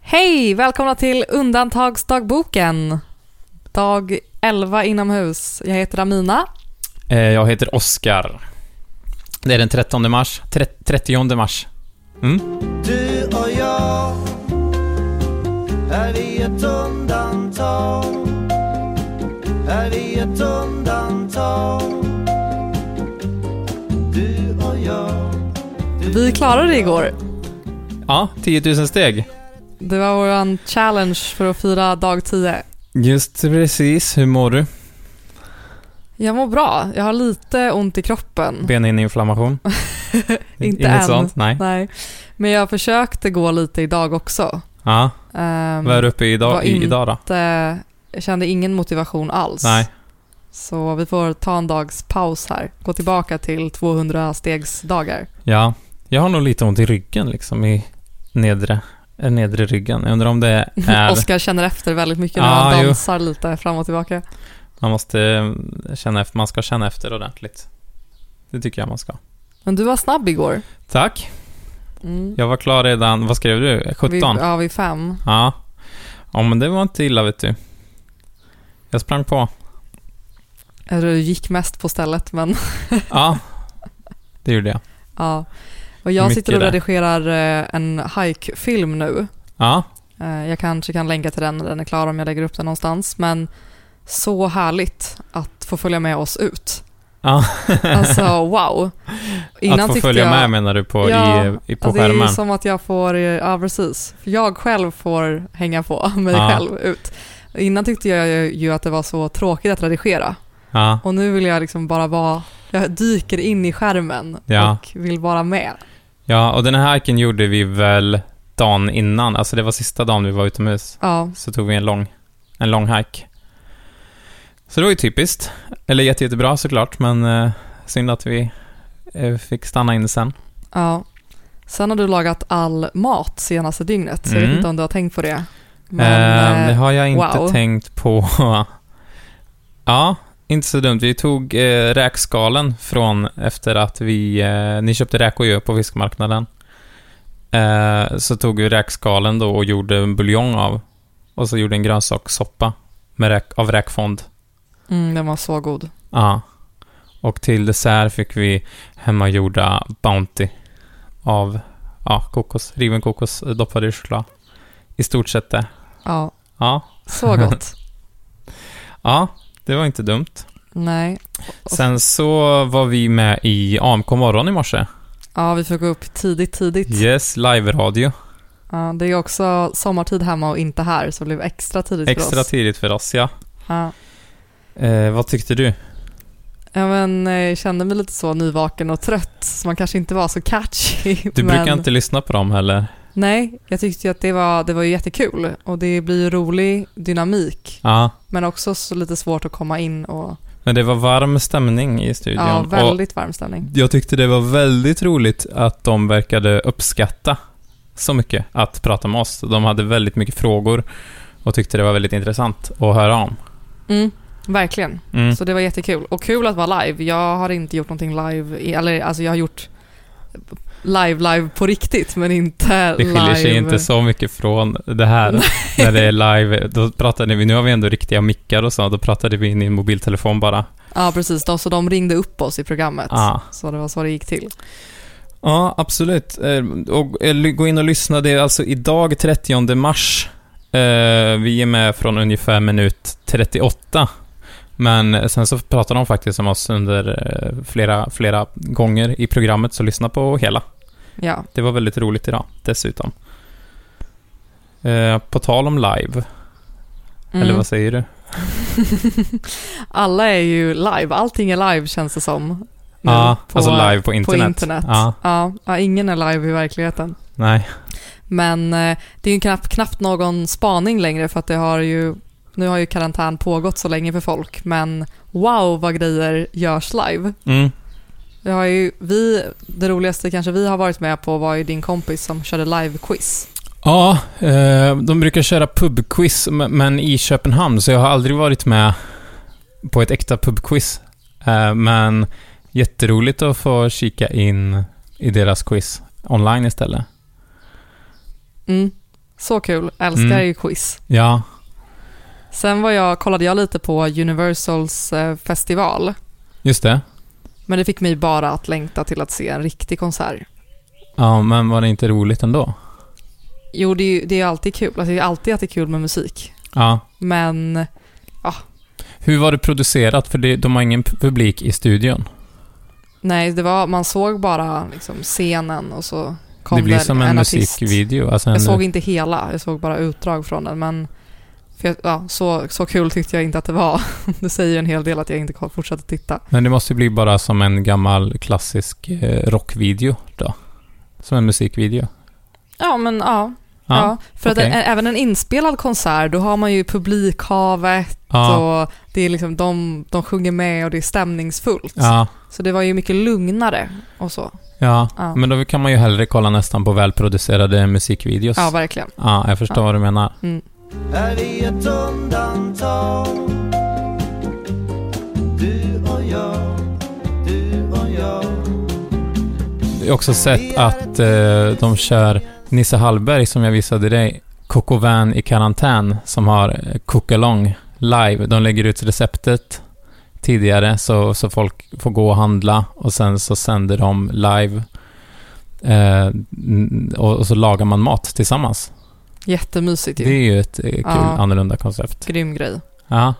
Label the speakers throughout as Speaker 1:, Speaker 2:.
Speaker 1: Hej! Välkomna till Undantagsdagboken. Dag 11 inomhus. Jag heter Amina.
Speaker 2: Eh, Jag heter Oskar. Det är den 13 mars. Tre- 30 mars. Mm.
Speaker 3: Du och jag Är vi ett undantag? Är vi ett undantag? Du och jag
Speaker 1: Vi klarade det igår.
Speaker 2: Ja, 10 000 steg.
Speaker 1: Det var vår challenge för att fira dag 10.
Speaker 2: Just precis. Hur mår du?
Speaker 1: Jag mår bra. Jag har lite ont i kroppen.
Speaker 2: Benhinneinflammation?
Speaker 1: Inte
Speaker 2: Inget
Speaker 1: än.
Speaker 2: sånt? Nej.
Speaker 1: Nej. Men jag försökte gå lite idag också.
Speaker 2: Ja,
Speaker 1: Ehm,
Speaker 2: vad är du uppe i
Speaker 1: Vad
Speaker 2: idag, i,
Speaker 1: in-
Speaker 2: idag då?
Speaker 1: inte- jag kände ingen motivation alls.
Speaker 2: Nej.
Speaker 1: Så vi får ta en dags paus här. Gå tillbaka till 200 stegsdagar.
Speaker 2: Ja, jag har nog lite ont i ryggen liksom i nedre, eh, nedre ryggen. Jag undrar om det är...
Speaker 1: Oskar känner efter väldigt mycket när
Speaker 2: Ja,
Speaker 1: han
Speaker 2: jo.
Speaker 1: dansar lite fram och tillbaka.
Speaker 2: Man måste eh, känna efter, man ska känna efter ordentligt. Det tycker jag man ska.
Speaker 1: Men du var snabb igår.
Speaker 2: Tack.
Speaker 1: Mm.
Speaker 2: Jag var klar redan, vad skrev du? 17?
Speaker 1: Vid, ja, vid fem.
Speaker 2: Ja. Ja, men det var inte illa vet du. Jag sprang på.
Speaker 1: Eller du gick mest på stället, men
Speaker 2: Ja, det gjorde jag.
Speaker 1: ja. Och jag
Speaker 2: Mycket
Speaker 1: sitter och
Speaker 2: där.
Speaker 1: redigerar eh, en hike-film nu.
Speaker 2: Ja,
Speaker 1: Eh, Jag kanske kan länka till den när den är klar om jag lägger upp den någonstans, men så härligt att få följa med oss ut.
Speaker 2: Ja.
Speaker 1: Alltså wow.
Speaker 2: att få
Speaker 1: tyckte
Speaker 2: följa
Speaker 1: jag-
Speaker 2: med menar du på,
Speaker 1: Ja,
Speaker 2: i, i, på
Speaker 1: alltså, Det är
Speaker 2: skärmen?
Speaker 1: som att jag får, eh, ja precis. För Jag själv får hänga på mig
Speaker 2: Ja.
Speaker 1: själv ut. Innan tyckte jag ju- ju att det var så tråkigt att redigera
Speaker 2: Ja,
Speaker 1: och nu vill jag liksom bara vara, jag dyker in i skärmen
Speaker 2: Ja.
Speaker 1: och vill vara med.
Speaker 2: ja, och den här hiken gjorde vi väl dagen innan, alltså det var sista dagen vi var utomhus.
Speaker 1: Ja,
Speaker 2: Så tog vi en lång, en lång hike. Så det var ju typiskt. Eller jätte, jättebra såklart, men eh, synd att vi eh, fick stanna in sen.
Speaker 1: ja. Sen har du lagat all mat senaste dygnet, så jag vet
Speaker 2: Mm.
Speaker 1: inte om du har tänkt på det.
Speaker 2: Ehm,
Speaker 1: Men,
Speaker 2: det
Speaker 1: eh,
Speaker 2: har jag inte
Speaker 1: wow.
Speaker 2: tänkt på. ja, inte så dumt. Vi tog eh, räkskalen från efter att vi... Eh, ni köpte räkor ju på fiskmarknaden. Eh, så tog vi räkskalen då och gjorde en buljong av. Och så gjorde en grönsakssoppa med räk, av räkfond.
Speaker 1: mm, den var så god.
Speaker 2: Ja. Och till dessert fick vi hemmagjorda Bounty av ja, kokos, riven kokos eh, doppad i choklad. I stort sett det.
Speaker 1: Ja,
Speaker 2: Ja.
Speaker 1: så gott.
Speaker 2: Ja, det var inte dumt.
Speaker 1: Nej.
Speaker 2: Sen så var vi med i AMK morgon i morse.
Speaker 1: Ja, vi får gå upp tidigt, tidigt.
Speaker 2: Yes, live-radio.
Speaker 1: Ja, det är också sommartid hemma och inte här, så det blev extra tidigt för
Speaker 2: Extra
Speaker 1: oss.
Speaker 2: tidigt för oss, ja.
Speaker 1: Ja.
Speaker 2: Eh, vad tyckte du?
Speaker 1: Ja, men, eh, jag kände mig lite så nyvaken och trött, så man kanske inte var så catchy.
Speaker 2: Du
Speaker 1: men...
Speaker 2: brukar inte lyssna på dem heller.
Speaker 1: Nej, jag tyckte ju att det var, det var ju jättekul och det blir ju rolig dynamik,
Speaker 2: Ja,
Speaker 1: men också så lite svårt att komma in och...
Speaker 2: men det var varm stämning i studion.
Speaker 1: Ja,
Speaker 2: Och
Speaker 1: väldigt varm stämning.
Speaker 2: jag tyckte det var väldigt roligt att de verkade uppskatta så mycket att prata med oss. De hade väldigt mycket frågor och tyckte det var väldigt intressant att höra om.
Speaker 1: Mm, verkligen.
Speaker 2: Mm.
Speaker 1: Så det var jättekul. Och kul att vara live. Jag har inte gjort någonting live, i, eller alltså jag har gjort live, live på riktigt, men inte
Speaker 2: Det skiljer
Speaker 1: live...
Speaker 2: sig inte så mycket från det här när det är live. Då pratade vi, nu har vi ändå riktiga mickar och så, då pratade vi in i en mobiltelefon bara.
Speaker 1: Ja, precis. De, så de ringde upp oss i programmet.
Speaker 2: Ja,
Speaker 1: Så det var så det gick till.
Speaker 2: ja absolut. Eh, Och, eh, ly- gå in och lyssna, det är alltså idag 30 mars. Eh, Vi är med från ungefär minut 38. Men eh, sen så pratar de faktiskt om oss under eh, flera, flera gånger i programmet, så lyssna på hela.
Speaker 1: Ja,
Speaker 2: Det var väldigt roligt idag, dessutom. Eh, På tal om live,
Speaker 1: mm.
Speaker 2: eller vad säger du?
Speaker 1: Alla är ju live. Allting är live känns det som. nu
Speaker 2: Ja,
Speaker 1: på,
Speaker 2: alltså live på
Speaker 1: på
Speaker 2: internet.
Speaker 1: internet.
Speaker 2: Ja,
Speaker 1: Ja, ja, ingen är live i verkligheten.
Speaker 2: nej.
Speaker 1: Men eh, det är ju knappt, knappt någon spaning längre för att det har ju, nu har ju karantän pågått så länge för folk. Men wow vad grejer görs live.
Speaker 2: Mm.
Speaker 1: Det, har ju, vi, det roligaste kanske vi har varit med på var ju din kompis som körde live-quiz.
Speaker 2: Ja, eh, de brukar köra pubquiz, m- men i Köpenhamn, så jag har aldrig varit med på ett äkta pubquiz. Eh, Men jätteroligt att få kika in i deras quiz online istället.
Speaker 1: Mm. Så kul. Älskar
Speaker 2: Mm.
Speaker 1: ju quiz.
Speaker 2: Ja.
Speaker 1: Sen var jag, kollade jag lite på Universals eh, festival,
Speaker 2: Just det.
Speaker 1: men det fick mig bara att längta till att se en riktig konsert.
Speaker 2: Ja, men var det inte roligt ändå?
Speaker 1: Jo, det är, ju- det är alltid kul. Alltså, det är alltid att det är kul med musik.
Speaker 2: Ja.
Speaker 1: Men
Speaker 2: Hur var det producerat? För det, de har ingen p- publik i studion.
Speaker 1: nej, det var, man såg bara liksom, scenen och så kom
Speaker 2: det blir
Speaker 1: där
Speaker 2: som en,
Speaker 1: artist.
Speaker 2: musikvideo. Alltså en,
Speaker 1: Jag såg inte hela, jag såg bara utdrag från den. Men för jag, ja, så, så kul tyckte jag inte att det var. Det säger ju en hel del att jag inte ko- fortsatte titta.
Speaker 2: Men det måste ju bli bara som en gammal klassisk eh, rockvideo då. Som en musikvideo.
Speaker 1: Ja, men ja. ja.
Speaker 2: Ja.
Speaker 1: för att
Speaker 2: okej.
Speaker 1: en, även en inspelad konsert, då har man ju publikhavet
Speaker 2: Ja.
Speaker 1: och det är liksom, de, de sjunger med och det är stämningsfullt.
Speaker 2: Ja.
Speaker 1: Så det var ju mycket lugnare och så.
Speaker 2: ja.
Speaker 1: Ja,
Speaker 2: Men då kan man ju hellre kolla nästan på välproducerade musikvideos.
Speaker 1: ja verkligen.
Speaker 2: Ja, jag förstår
Speaker 1: Ja.
Speaker 2: vad du menar.
Speaker 3: är vi ett undantag Du och jag, du och jag
Speaker 2: Jag har också sett att eh, de kör Nisse Hallberg, som jag visade dig, Coco Van i karantän, som har eh, Cookalong live. De lägger ut receptet tidigare så, så folk får gå och handla och sen så sänder de live eh, n- och, och så lagar man mat tillsammans.
Speaker 1: Jättemysigt
Speaker 2: Det
Speaker 1: ju.
Speaker 2: är ju ett eh, kul,
Speaker 1: Ja.
Speaker 2: annorlunda koncept.
Speaker 1: Grym grej.
Speaker 2: Ja,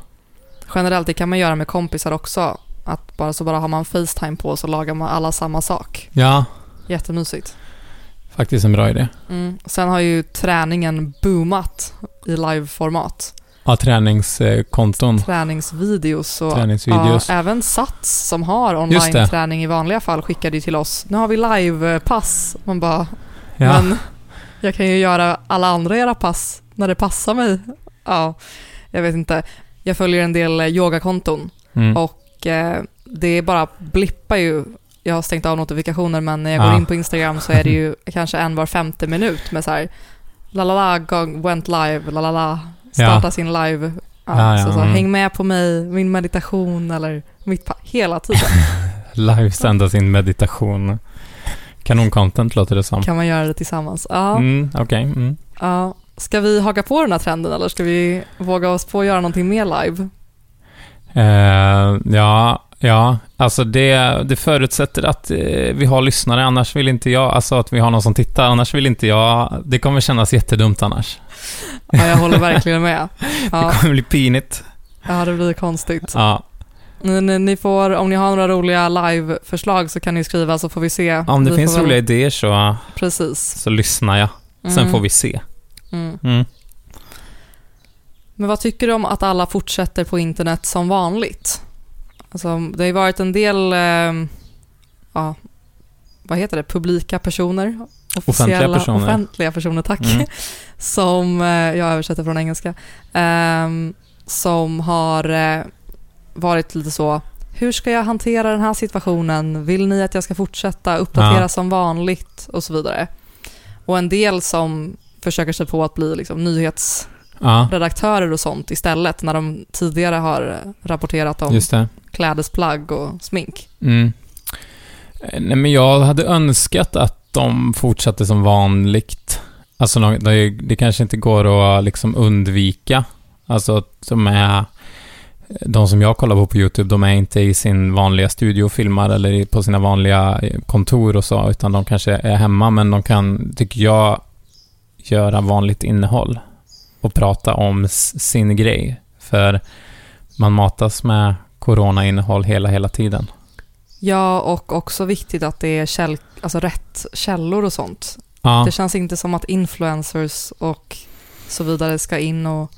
Speaker 1: Generellt, det kan man göra med kompisar också. Att bara, så bara har man Facetime på så lagar man alla samma sak.
Speaker 2: ja
Speaker 1: Jättemysigt.
Speaker 2: faktiskt en bra idé.
Speaker 1: Mm. Sen har ju träningen boomat i liveformat.
Speaker 2: Ja, träningskonton,
Speaker 1: Träningsvideos och
Speaker 2: Mm. träningsvideos.
Speaker 1: Ja, även Sats som har
Speaker 2: Just det.
Speaker 1: online-träning i vanliga fall skickade ju till oss. Nu har vi live-pass. Man bara,
Speaker 2: Ja,
Speaker 1: men jag kan ju göra alla andra era pass när det passar mig. Ja, jag vet inte. Jag följer en del eh, yogakonton
Speaker 2: mm.
Speaker 1: Och eh, det bara blippar ju. Jag har stängt av notifikationer men när jag
Speaker 2: Ah.
Speaker 1: går in på Instagram så är det ju kanske en var femte minut med så här la la la, gång- went live, la la la, starta
Speaker 2: Ja.
Speaker 1: sin live. Ja,
Speaker 2: Ja, ja,
Speaker 1: så, så,
Speaker 2: mm.
Speaker 1: Häng med på mig, min meditation eller mitt pa- hela tiden
Speaker 2: Livesända sin meditation. Kanoncontent låter det som.
Speaker 1: kan man göra det tillsammans. Ja,
Speaker 2: Mm, Okej. mm.
Speaker 1: ja. Ska vi haka på den här trenden eller ska vi våga oss på att göra någonting mer live?
Speaker 2: eh, ja, ja. Alltså det, det förutsätter att eh, vi har lyssnare, annars vill inte jag, alltså att vi har någon som tittar, annars vill inte jag, det kommer kännas jättedumt annars.
Speaker 1: Ja, jag håller verkligen med. Ja,
Speaker 2: Det kommer bli pinigt.
Speaker 1: ja det blir konstigt.
Speaker 2: Ja,
Speaker 1: Ni, ni, ni får, om ni har några roliga live-förslag så kan ni skriva så får vi se.
Speaker 2: om det
Speaker 1: vi
Speaker 2: finns
Speaker 1: får väl-
Speaker 2: roliga idéer så,
Speaker 1: Precis.
Speaker 2: så lyssnar jag. Sen
Speaker 1: Mm,
Speaker 2: får vi se.
Speaker 1: Mm.
Speaker 2: Mm.
Speaker 1: Men vad tycker du om att alla fortsätter på internet som vanligt? Alltså, det har ju varit en del, eh, ja, vad heter det, publika personer? Officiella-
Speaker 2: personer.
Speaker 1: Offentliga personer, tack.
Speaker 2: Mm.
Speaker 1: Som, eh, jag översätter från engelska, ehm, som har eh, varit lite så, hur ska jag hantera den här situationen? Vill ni att jag ska fortsätta uppdatera
Speaker 2: Ja.
Speaker 1: som vanligt? Och så vidare. Och en del som försöker sig på att bli liksom, nyhets
Speaker 2: Ja,
Speaker 1: redaktörer och sånt istället när de tidigare har rapporterat om
Speaker 2: just det.
Speaker 1: klädesplagg och smink.
Speaker 2: Mm. Eh, Nej, men jag hade önskat att de fortsatte som vanligt. Alltså, nå- det, det kanske inte går att liksom undvika. Alltså, att de är... De som jag kollar på på YouTube, de är inte i sin vanliga studio och filmar eller i- på sina vanliga eh, kontor och så, utan de kanske är hemma, men de kan, tycker jag, göra vanligt innehåll och prata om s- sin grej. För man matas med corona-innehåll hela, hela tiden.
Speaker 1: Ja, och också viktigt att det är käll, alltså rätt källor och sånt.
Speaker 2: Ja,
Speaker 1: Det känns inte som att influencers och så vidare ska in och,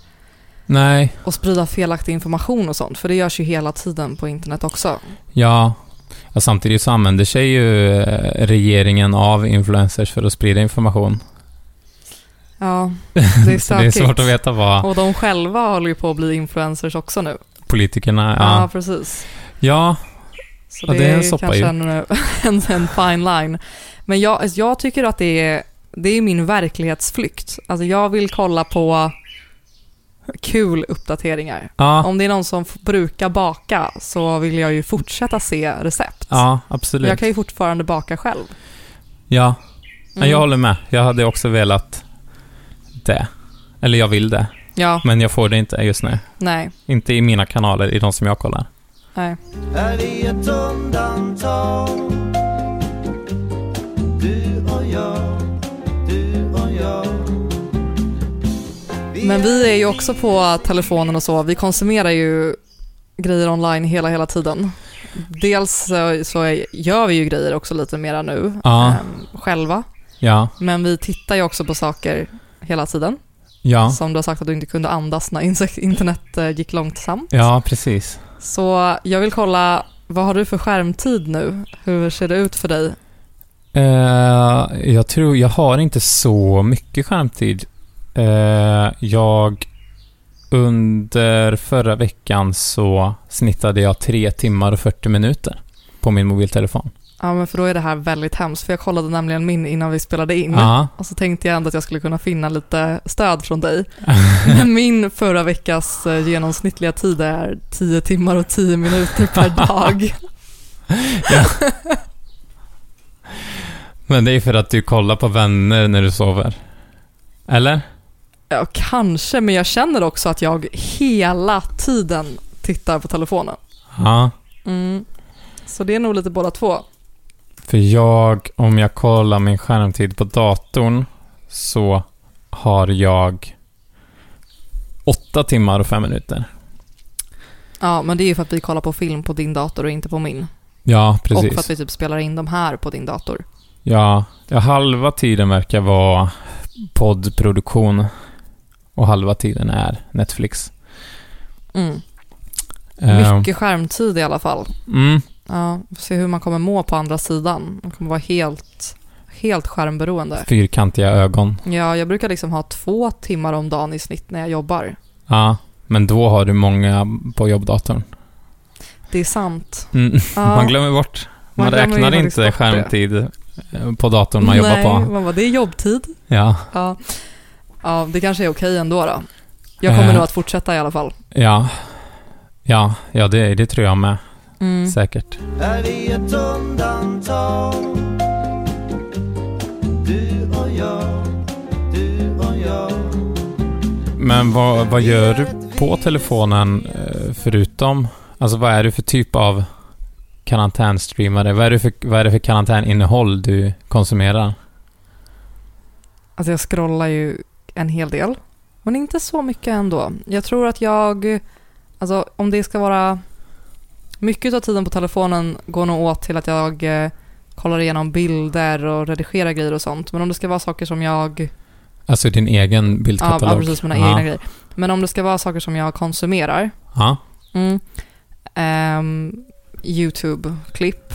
Speaker 2: nej,
Speaker 1: och sprida felaktig information och sånt, för det görs ju hela tiden på internet också.
Speaker 2: ja. ja. Samtidigt så använder sig ju eh, regeringen av influencers för att sprida information.
Speaker 1: Ja, det är
Speaker 2: så det är
Speaker 1: stökigt.
Speaker 2: svårt att veta vad
Speaker 1: Och de själva håller ju på att bli influencers också nu.
Speaker 2: politikerna...
Speaker 1: Ja,
Speaker 2: Ja,
Speaker 1: precis.
Speaker 2: ja,
Speaker 1: Så
Speaker 2: Ja,
Speaker 1: det,
Speaker 2: det är en
Speaker 1: är,
Speaker 2: soppa ju.
Speaker 1: kanske en, eh, en, en fine line. Men jag, alltså, jag tycker att det är, det är min verklighetsflykt. Alltså jag vill kolla på kul uppdateringar.
Speaker 2: ja,
Speaker 1: Om det är någon som f- brukar baka så vill jag ju fortsätta se recept.
Speaker 2: ja
Speaker 1: jag
Speaker 2: absolut.
Speaker 1: kan ju fortfarande baka själv.
Speaker 2: Ja, Ja,
Speaker 1: Mm.
Speaker 2: jag håller med. Jag hade också velat det. Eller jag vill det,
Speaker 1: Ja,
Speaker 2: men jag får det inte just nu.
Speaker 1: nej,
Speaker 2: Inte i mina kanaler, i de som jag kollar.
Speaker 1: nej.
Speaker 3: är vi ett undantag Du och jag, du och jag
Speaker 1: Men vi är ju också på telefonen och så. Vi konsumerar ju grejer online hela, hela tiden. Dels så, så är- gör vi ju grejer också lite mera nu
Speaker 2: Ja.
Speaker 1: ehm, själva.
Speaker 2: Ja,
Speaker 1: Men vi tittar ju också på saker hela tiden.
Speaker 2: ja,
Speaker 1: Som du har sagt att du inte kunde andas när insek- internet eh, gick långsamt.
Speaker 2: ja, precis.
Speaker 1: Så jag vill kolla, vad har du för skärmtid nu? Hur ser det ut för dig?
Speaker 2: Eh, jag tror, jag har inte så mycket skärmtid. Eh, jag, under förra veckan så snittade jag 3 timmar och 40 minuter på min mobiltelefon.
Speaker 1: Ja, men för då är det här väldigt hemskt. För jag kollade nämligen min innan vi spelade in.
Speaker 2: Ja,
Speaker 1: Och så tänkte jag ändå att jag skulle kunna finna lite stöd från dig. Men min förra veckas eh, genomsnittliga tid är 10 timmar och 10 minuter per dag.
Speaker 2: men det är för att du kollar på vänner när du sover. Eller?
Speaker 1: Ja, kanske, men jag känner också att jag hela tiden tittar på telefonen.
Speaker 2: Ja.
Speaker 1: Mm. Så det är nog lite båda två.
Speaker 2: För jag, om jag kollar min skärmtid på datorn så har jag 8 timmar och 5 minuter.
Speaker 1: Ja, men det är ju för att vi kollar på film på din dator och inte på min.
Speaker 2: Ja,
Speaker 1: Och för
Speaker 2: precis.
Speaker 1: att vi typ spelar in de här på din dator.
Speaker 2: Ja, ja, halva tiden verkar vara poddproduktion och halva tiden är Netflix.
Speaker 1: Mm.
Speaker 2: Eh,
Speaker 1: Mycket skärmtid i alla fall.
Speaker 2: Mm,
Speaker 1: Ja, vi får se hur man kommer må på andra sidan. Man kommer vara helt, helt skärmberoende.
Speaker 2: fyrkantiga ögon.
Speaker 1: Ja, jag brukar liksom ha två timmar om dagen i snitt när jag jobbar.
Speaker 2: Ja, men då har du många på jobbdatorn.
Speaker 1: Det är sant.
Speaker 2: Mm.
Speaker 1: Ja,
Speaker 2: Man glömmer bort. Man,
Speaker 1: Man glömmer
Speaker 2: räknar
Speaker 1: ju faktiskt bort
Speaker 2: inte
Speaker 1: det.
Speaker 2: skärmtid eh, på datorn man jobbar
Speaker 1: nej,
Speaker 2: på.
Speaker 1: Man bara, det är jobbtid.
Speaker 2: Ja,
Speaker 1: Ja, ja det kanske är okej ändå då. Jag kommer
Speaker 2: Eh.
Speaker 1: nog att fortsätta i alla fall.
Speaker 2: ja, ja, ja det, det tror jag med.
Speaker 1: Mm.
Speaker 2: Säkert.
Speaker 3: är vi ett undantag Du och jag, du och jag
Speaker 2: Men vad, vad gör du på telefonen eh, förutom... Alltså vad är du för typ av karantänstreamare? Vad är det för, vad är det för karantäninnehåll du konsumerar?
Speaker 1: Alltså jag scrollar ju en hel del, men inte så mycket ändå. Jag tror att jag, alltså om det ska vara, mycket av tiden på telefonen går nog åt till att jag eh, kollar igenom bilder och redigerar grejer och sånt. Men om det ska vara saker som jag,
Speaker 2: Alltså din egen
Speaker 1: ja,
Speaker 2: bildkatalog?
Speaker 1: ja precis mina
Speaker 2: Ja.
Speaker 1: egna grejer. Men om det ska vara saker som jag konsumerar,
Speaker 2: Ja,
Speaker 1: mm, ehm, YouTube-klipp,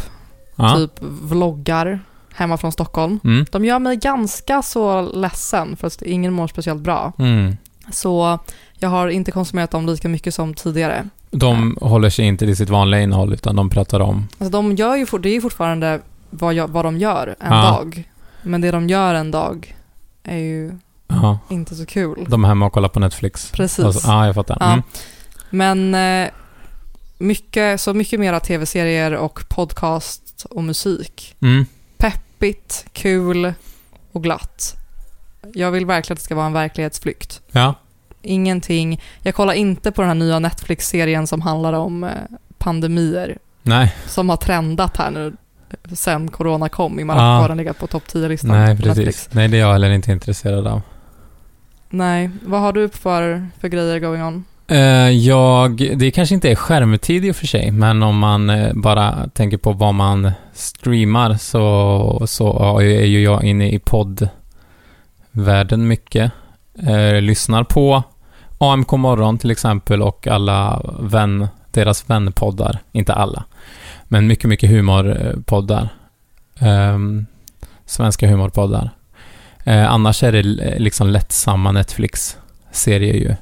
Speaker 2: ja.
Speaker 1: typ vloggar hemma från Stockholm.
Speaker 2: Mm.
Speaker 1: De gör mig ganska så ledsen för att ingen mår speciellt bra.
Speaker 2: Mm.
Speaker 1: Så jag har inte konsumerat dem lika mycket som tidigare.
Speaker 2: De håller sig inte till sitt vanliga innehåll utan de pratar om...
Speaker 1: Alltså de gör ju, for- det är ju fortfarande vad, jag, vad de gör en
Speaker 2: Ja.
Speaker 1: dag. Men det de gör en dag är ju
Speaker 2: Ja,
Speaker 1: inte så kul.
Speaker 2: de är hemma och kollar på Netflix.
Speaker 1: Precis.
Speaker 2: Alltså, ja, jag fattar.
Speaker 1: Ja.
Speaker 2: Mm.
Speaker 1: Men eh, mycket, så mycket mera tv-serier och podcast och musik.
Speaker 2: Mm.
Speaker 1: Peppigt, kul och glatt. Jag vill verkligen att det ska vara en verklighetsflykt.
Speaker 2: Ja.
Speaker 1: Ingenting. Jag kollar inte på den här nya Netflix-serien som handlar om eh, pandemier
Speaker 2: Nej,
Speaker 1: som har trendat här nu sen corona kom. I Marocko
Speaker 2: Ah.
Speaker 1: har den legat på topp 10-listan.
Speaker 2: nej
Speaker 1: på
Speaker 2: precis.
Speaker 1: Netflix.
Speaker 2: Nej, det är jag heller inte intresserad av.
Speaker 1: Nej, vad har du för, för grejer going on?
Speaker 2: Eh, jag, det kanske inte är skärmtid i och för sig, men om man eh, bara tänker på vad man streamar så, så ja, är ju jag inne i poddvärlden mycket. Eh, lyssnar på AMK morgon till exempel och alla vän, deras vänpoddar. Inte alla, men mycket, mycket humorpoddar. Ehm, svenska humorpoddar. Eh, annars är det eh, liksom lättsamma Netflix-serier ju.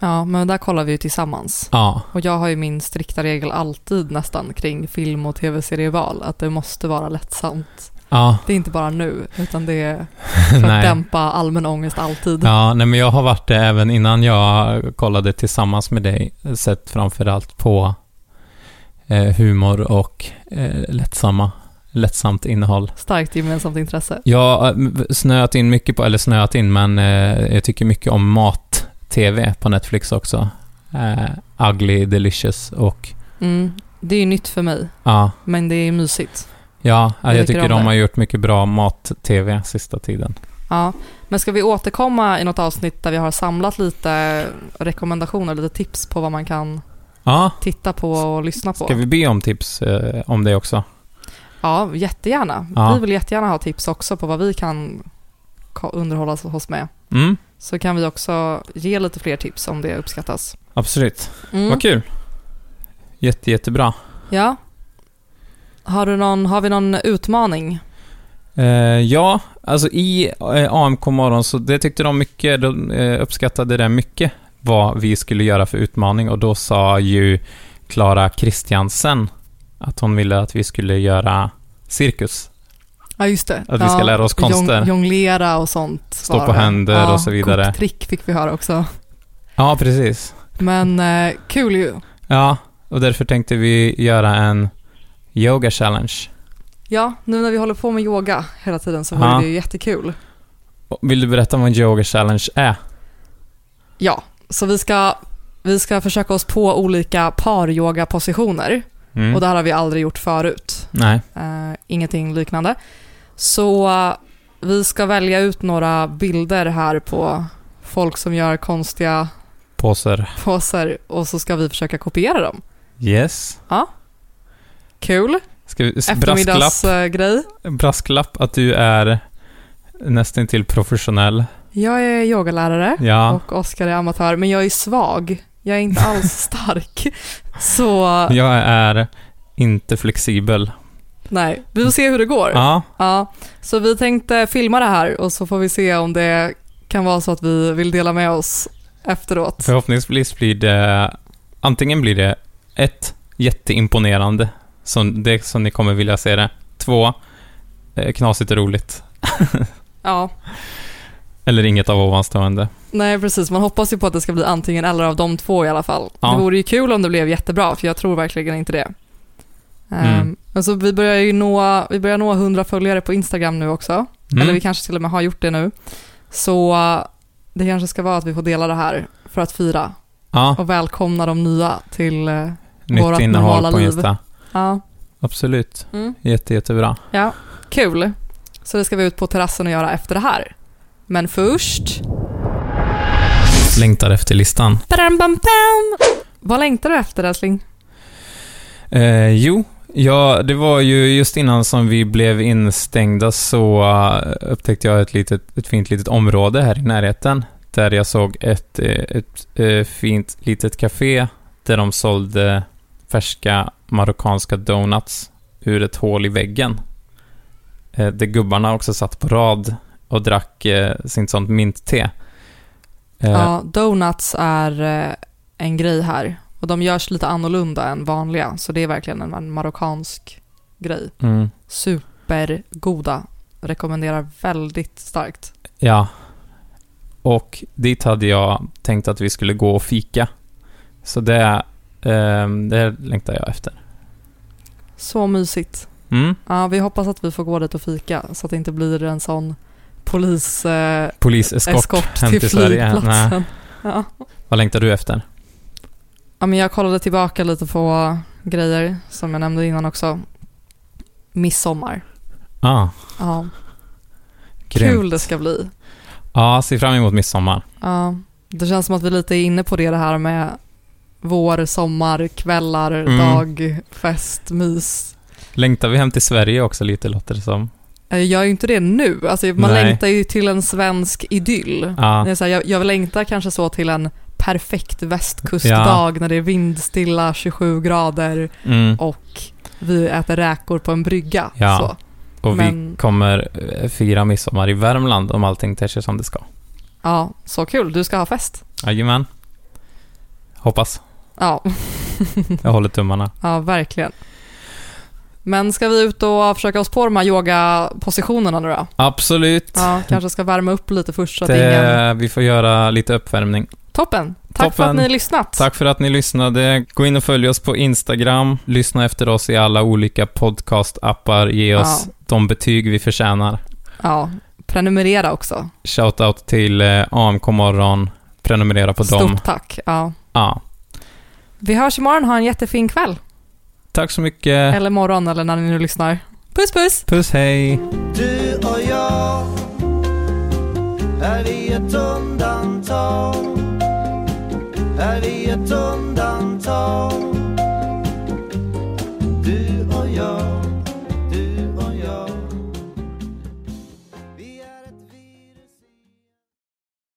Speaker 1: Ja, men där kollar vi ju tillsammans.
Speaker 2: Ja.
Speaker 1: Och jag har ju min strikta regel alltid nästan kring film och tv-serieval, att det måste vara lättsamt.
Speaker 2: Ja,
Speaker 1: Det är inte bara nu, utan det är för att
Speaker 2: nej.
Speaker 1: dämpa allmän ångest alltid.
Speaker 2: Ja, nej, men jag har varit det även innan jag kollade tillsammans med dig, sett framförallt på eh, humor och eh, lättsamma lättsamt innehåll.
Speaker 1: Starkt gemensamt intresse.
Speaker 2: Jag har snöat in mycket på, eller snöat in, men eh, jag tycker mycket om mat-tv på Netflix också. Eh, Ugly, Delicious och
Speaker 1: Mm. Det är ju nytt för mig,
Speaker 2: ja,
Speaker 1: men det är mysigt.
Speaker 2: ja, jag,
Speaker 1: tycker
Speaker 2: tycker
Speaker 1: om
Speaker 2: de
Speaker 1: det.
Speaker 2: har gjort mycket bra mat-tv sista tiden.
Speaker 1: Ja. Men ska vi återkomma i något avsnitt där vi har samlat lite rekommendationer, lite tips på vad man kan
Speaker 2: Ja,
Speaker 1: titta på och lyssna på?
Speaker 2: ska vi be om tips eh, om det också?
Speaker 1: Ja, jättegärna.
Speaker 2: Ja.
Speaker 1: Vi vill jättegärna ha tips också på vad vi kan ka- underhålla oss med.
Speaker 2: Mm,
Speaker 1: Så kan vi också ge lite fler tips om det uppskattas.
Speaker 2: absolut.
Speaker 1: Mm.
Speaker 2: Vad kul. Jätte, jättebra.
Speaker 1: Ja. Har, du någon, har vi någon utmaning?
Speaker 2: Eh, ja, alltså i eh, AMK morgon så det tyckte de mycket, de eh, uppskattade det mycket, vad vi skulle göra för utmaning och då sa ju Klara Kristiansen att hon ville att vi skulle göra cirkus.
Speaker 1: Ja, just det.
Speaker 2: Att vi ska
Speaker 1: ja,
Speaker 2: lära oss konster.
Speaker 1: jong- Jonglera och sånt.
Speaker 2: Stå
Speaker 1: var
Speaker 2: på
Speaker 1: det.
Speaker 2: händer och så vidare.
Speaker 1: Koktrick fick vi höra också.
Speaker 2: Ja, precis.
Speaker 1: Men eh, kul ju.
Speaker 2: Ja, och därför tänkte vi göra en yoga challenge.
Speaker 1: Ja, nu när vi håller på med yoga hela tiden så
Speaker 2: Ja.
Speaker 1: vore det ju jättekul.
Speaker 2: Och Vill du berätta vad en yoga challenge är?
Speaker 1: Ja, så vi ska, vi ska försöka oss på olika paryoga-positioner.
Speaker 2: Mm.
Speaker 1: Och det här har vi aldrig gjort förut.
Speaker 2: Nej.
Speaker 1: Eh, ingenting liknande. Så eh, vi ska välja ut några bilder här på folk som gör konstiga
Speaker 2: Påser.
Speaker 1: poser och så ska vi försöka kopiera dem.
Speaker 2: Yes.
Speaker 1: Kul,
Speaker 2: Ska vi, brasklapp.
Speaker 1: eftermiddagsgrej.
Speaker 2: brasklapp att du är nästan till professionell.
Speaker 1: Jag är yogalärare
Speaker 2: Ja.
Speaker 1: och Oskar är amatör, men jag är svag. Jag är inte alls stark. Så
Speaker 2: Jag är inte flexibel.
Speaker 1: nej, vi får se hur det går.
Speaker 2: Ja,
Speaker 1: Ja, så vi tänkte filma det här och så får vi se om det kan vara så att vi vill dela med oss efteråt.
Speaker 2: förhoppningsvis blir det... Antingen blir det ett, jätteimponerande, som, det som ni kommer vilja se det. Två, eh, knasigt och roligt.
Speaker 1: Ja,
Speaker 2: Eller inget av ovanstående.
Speaker 1: nej precis. Man hoppas ju på att det ska bli antingen eller av de två i alla fall.
Speaker 2: Ja.
Speaker 1: Det vore ju kul om det blev jättebra, för jag tror verkligen inte det. Ehm,
Speaker 2: Mm.
Speaker 1: men så vi börjar ju nå, vi börjar nå 100 följare på Instagram nu också.
Speaker 2: Mm.
Speaker 1: Eller vi kanske till och med har gjort det nu. Så eh, det kanske ska vara att vi får dela det här för att fira
Speaker 2: Ja,
Speaker 1: och välkomna de nya till... eh, vårat
Speaker 2: nytt
Speaker 1: normala
Speaker 2: innehåll på
Speaker 1: liv.
Speaker 2: Insta.
Speaker 1: Ja,
Speaker 2: Absolut.
Speaker 1: mm.
Speaker 2: Jätte, jättebra.
Speaker 1: kul. Så det ska vi ut på terrassen och göra efter det här. Men först...
Speaker 2: Längtar efter listan.
Speaker 1: Bam, bam, bam. Vad längtar du efter älskling?
Speaker 2: Eh, jo, ja, det var ju just innan som vi blev instängda så eh, upptäckte jag ett, litet, ett fint litet område här i närheten där jag såg ett, eh, ett, eh, fint litet café där de sålde färska marockanska donuts ur ett hål i väggen. Eh, där gubbarna också satt på rad och drack eh, sin sånt mintte. Eh,
Speaker 1: Ja, donuts är eh, en grej här. Och de görs lite annorlunda än vanliga, så det är verkligen en- en marockansk grej.
Speaker 2: mm,
Speaker 1: Supergoda. Rekommenderar väldigt starkt.
Speaker 2: Ja. Och dit hade jag tänkt att vi skulle gå och fika. Så det, ehm, det längtar jag efter.
Speaker 1: Så mysigt.
Speaker 2: Mm.
Speaker 1: Ja, vi hoppas att vi får gå dit och fika så att det inte blir en sån polis... Eh,
Speaker 2: Poliseskort
Speaker 1: eskort
Speaker 2: hem
Speaker 1: till
Speaker 2: till, Sverige. Nej.
Speaker 1: flygplatsen. Ja.
Speaker 2: Vad längtar du efter?
Speaker 1: ja, men jag kollade tillbaka lite på grejer som jag nämnde innan också. Midsommar.
Speaker 2: Ah,
Speaker 1: Ja,
Speaker 2: grymt.
Speaker 1: kul det ska bli.
Speaker 2: Ja, se fram emot midsommar.
Speaker 1: Ja, det känns som att vi lite är inne på det, det här med vår, sommar, kvällar,
Speaker 2: Mm.
Speaker 1: dag, fest, mys.
Speaker 2: Längtar vi hem till Sverige också lite, låter det som.
Speaker 1: Eh, Jag gör ju inte det nu. Alltså, man
Speaker 2: Nej.
Speaker 1: längtar ju till en svensk idyll.
Speaker 2: Ja,
Speaker 1: Det är så här, jag, jag längtar kanske så till en perfekt västkustdag när det är vindstilla, 27 grader
Speaker 2: mm.
Speaker 1: och vi äter räkor på en brygga.
Speaker 2: Ja.
Speaker 1: Så.
Speaker 2: Och vi
Speaker 1: men-
Speaker 2: kommer eh, fira midsommar i Värmland om allting ter sig som det ska.
Speaker 1: ja, så kul. Du ska ha fest.
Speaker 2: Jajamän. Hoppas.
Speaker 1: Ja,
Speaker 2: Jag håller tummarna.
Speaker 1: ja verkligen. Men ska vi ut och försöka oss på de här yogapositionerna nu då?
Speaker 2: Absolut.
Speaker 1: Ja, kanske ska värma upp lite först så att ingen
Speaker 2: Det, vi får göra lite uppvärmning.
Speaker 1: Toppen. Tack för att
Speaker 2: Toppen.
Speaker 1: ni har lyssnat.
Speaker 2: Tack för att ni lyssnade. Gå in och följ oss på Instagram. Lyssna efter oss i alla olika podcastappar. Ge oss de betyg vi förtjänar.
Speaker 1: Ja, prenumerera också.
Speaker 2: Shoutout till eh, AMK Morgon. Prenumerera på
Speaker 1: Stort
Speaker 2: dem.
Speaker 1: tack. Ja.
Speaker 2: Ja.
Speaker 1: Vi hörs imorgon. Ha en jättefin kväll.
Speaker 2: Tack så mycket.
Speaker 1: Eller morgon, eller när ni nu lyssnar. Puss, puss!
Speaker 2: Puss, hej.
Speaker 3: Du och jag Är vi ett undantag? Är vi ett undantag?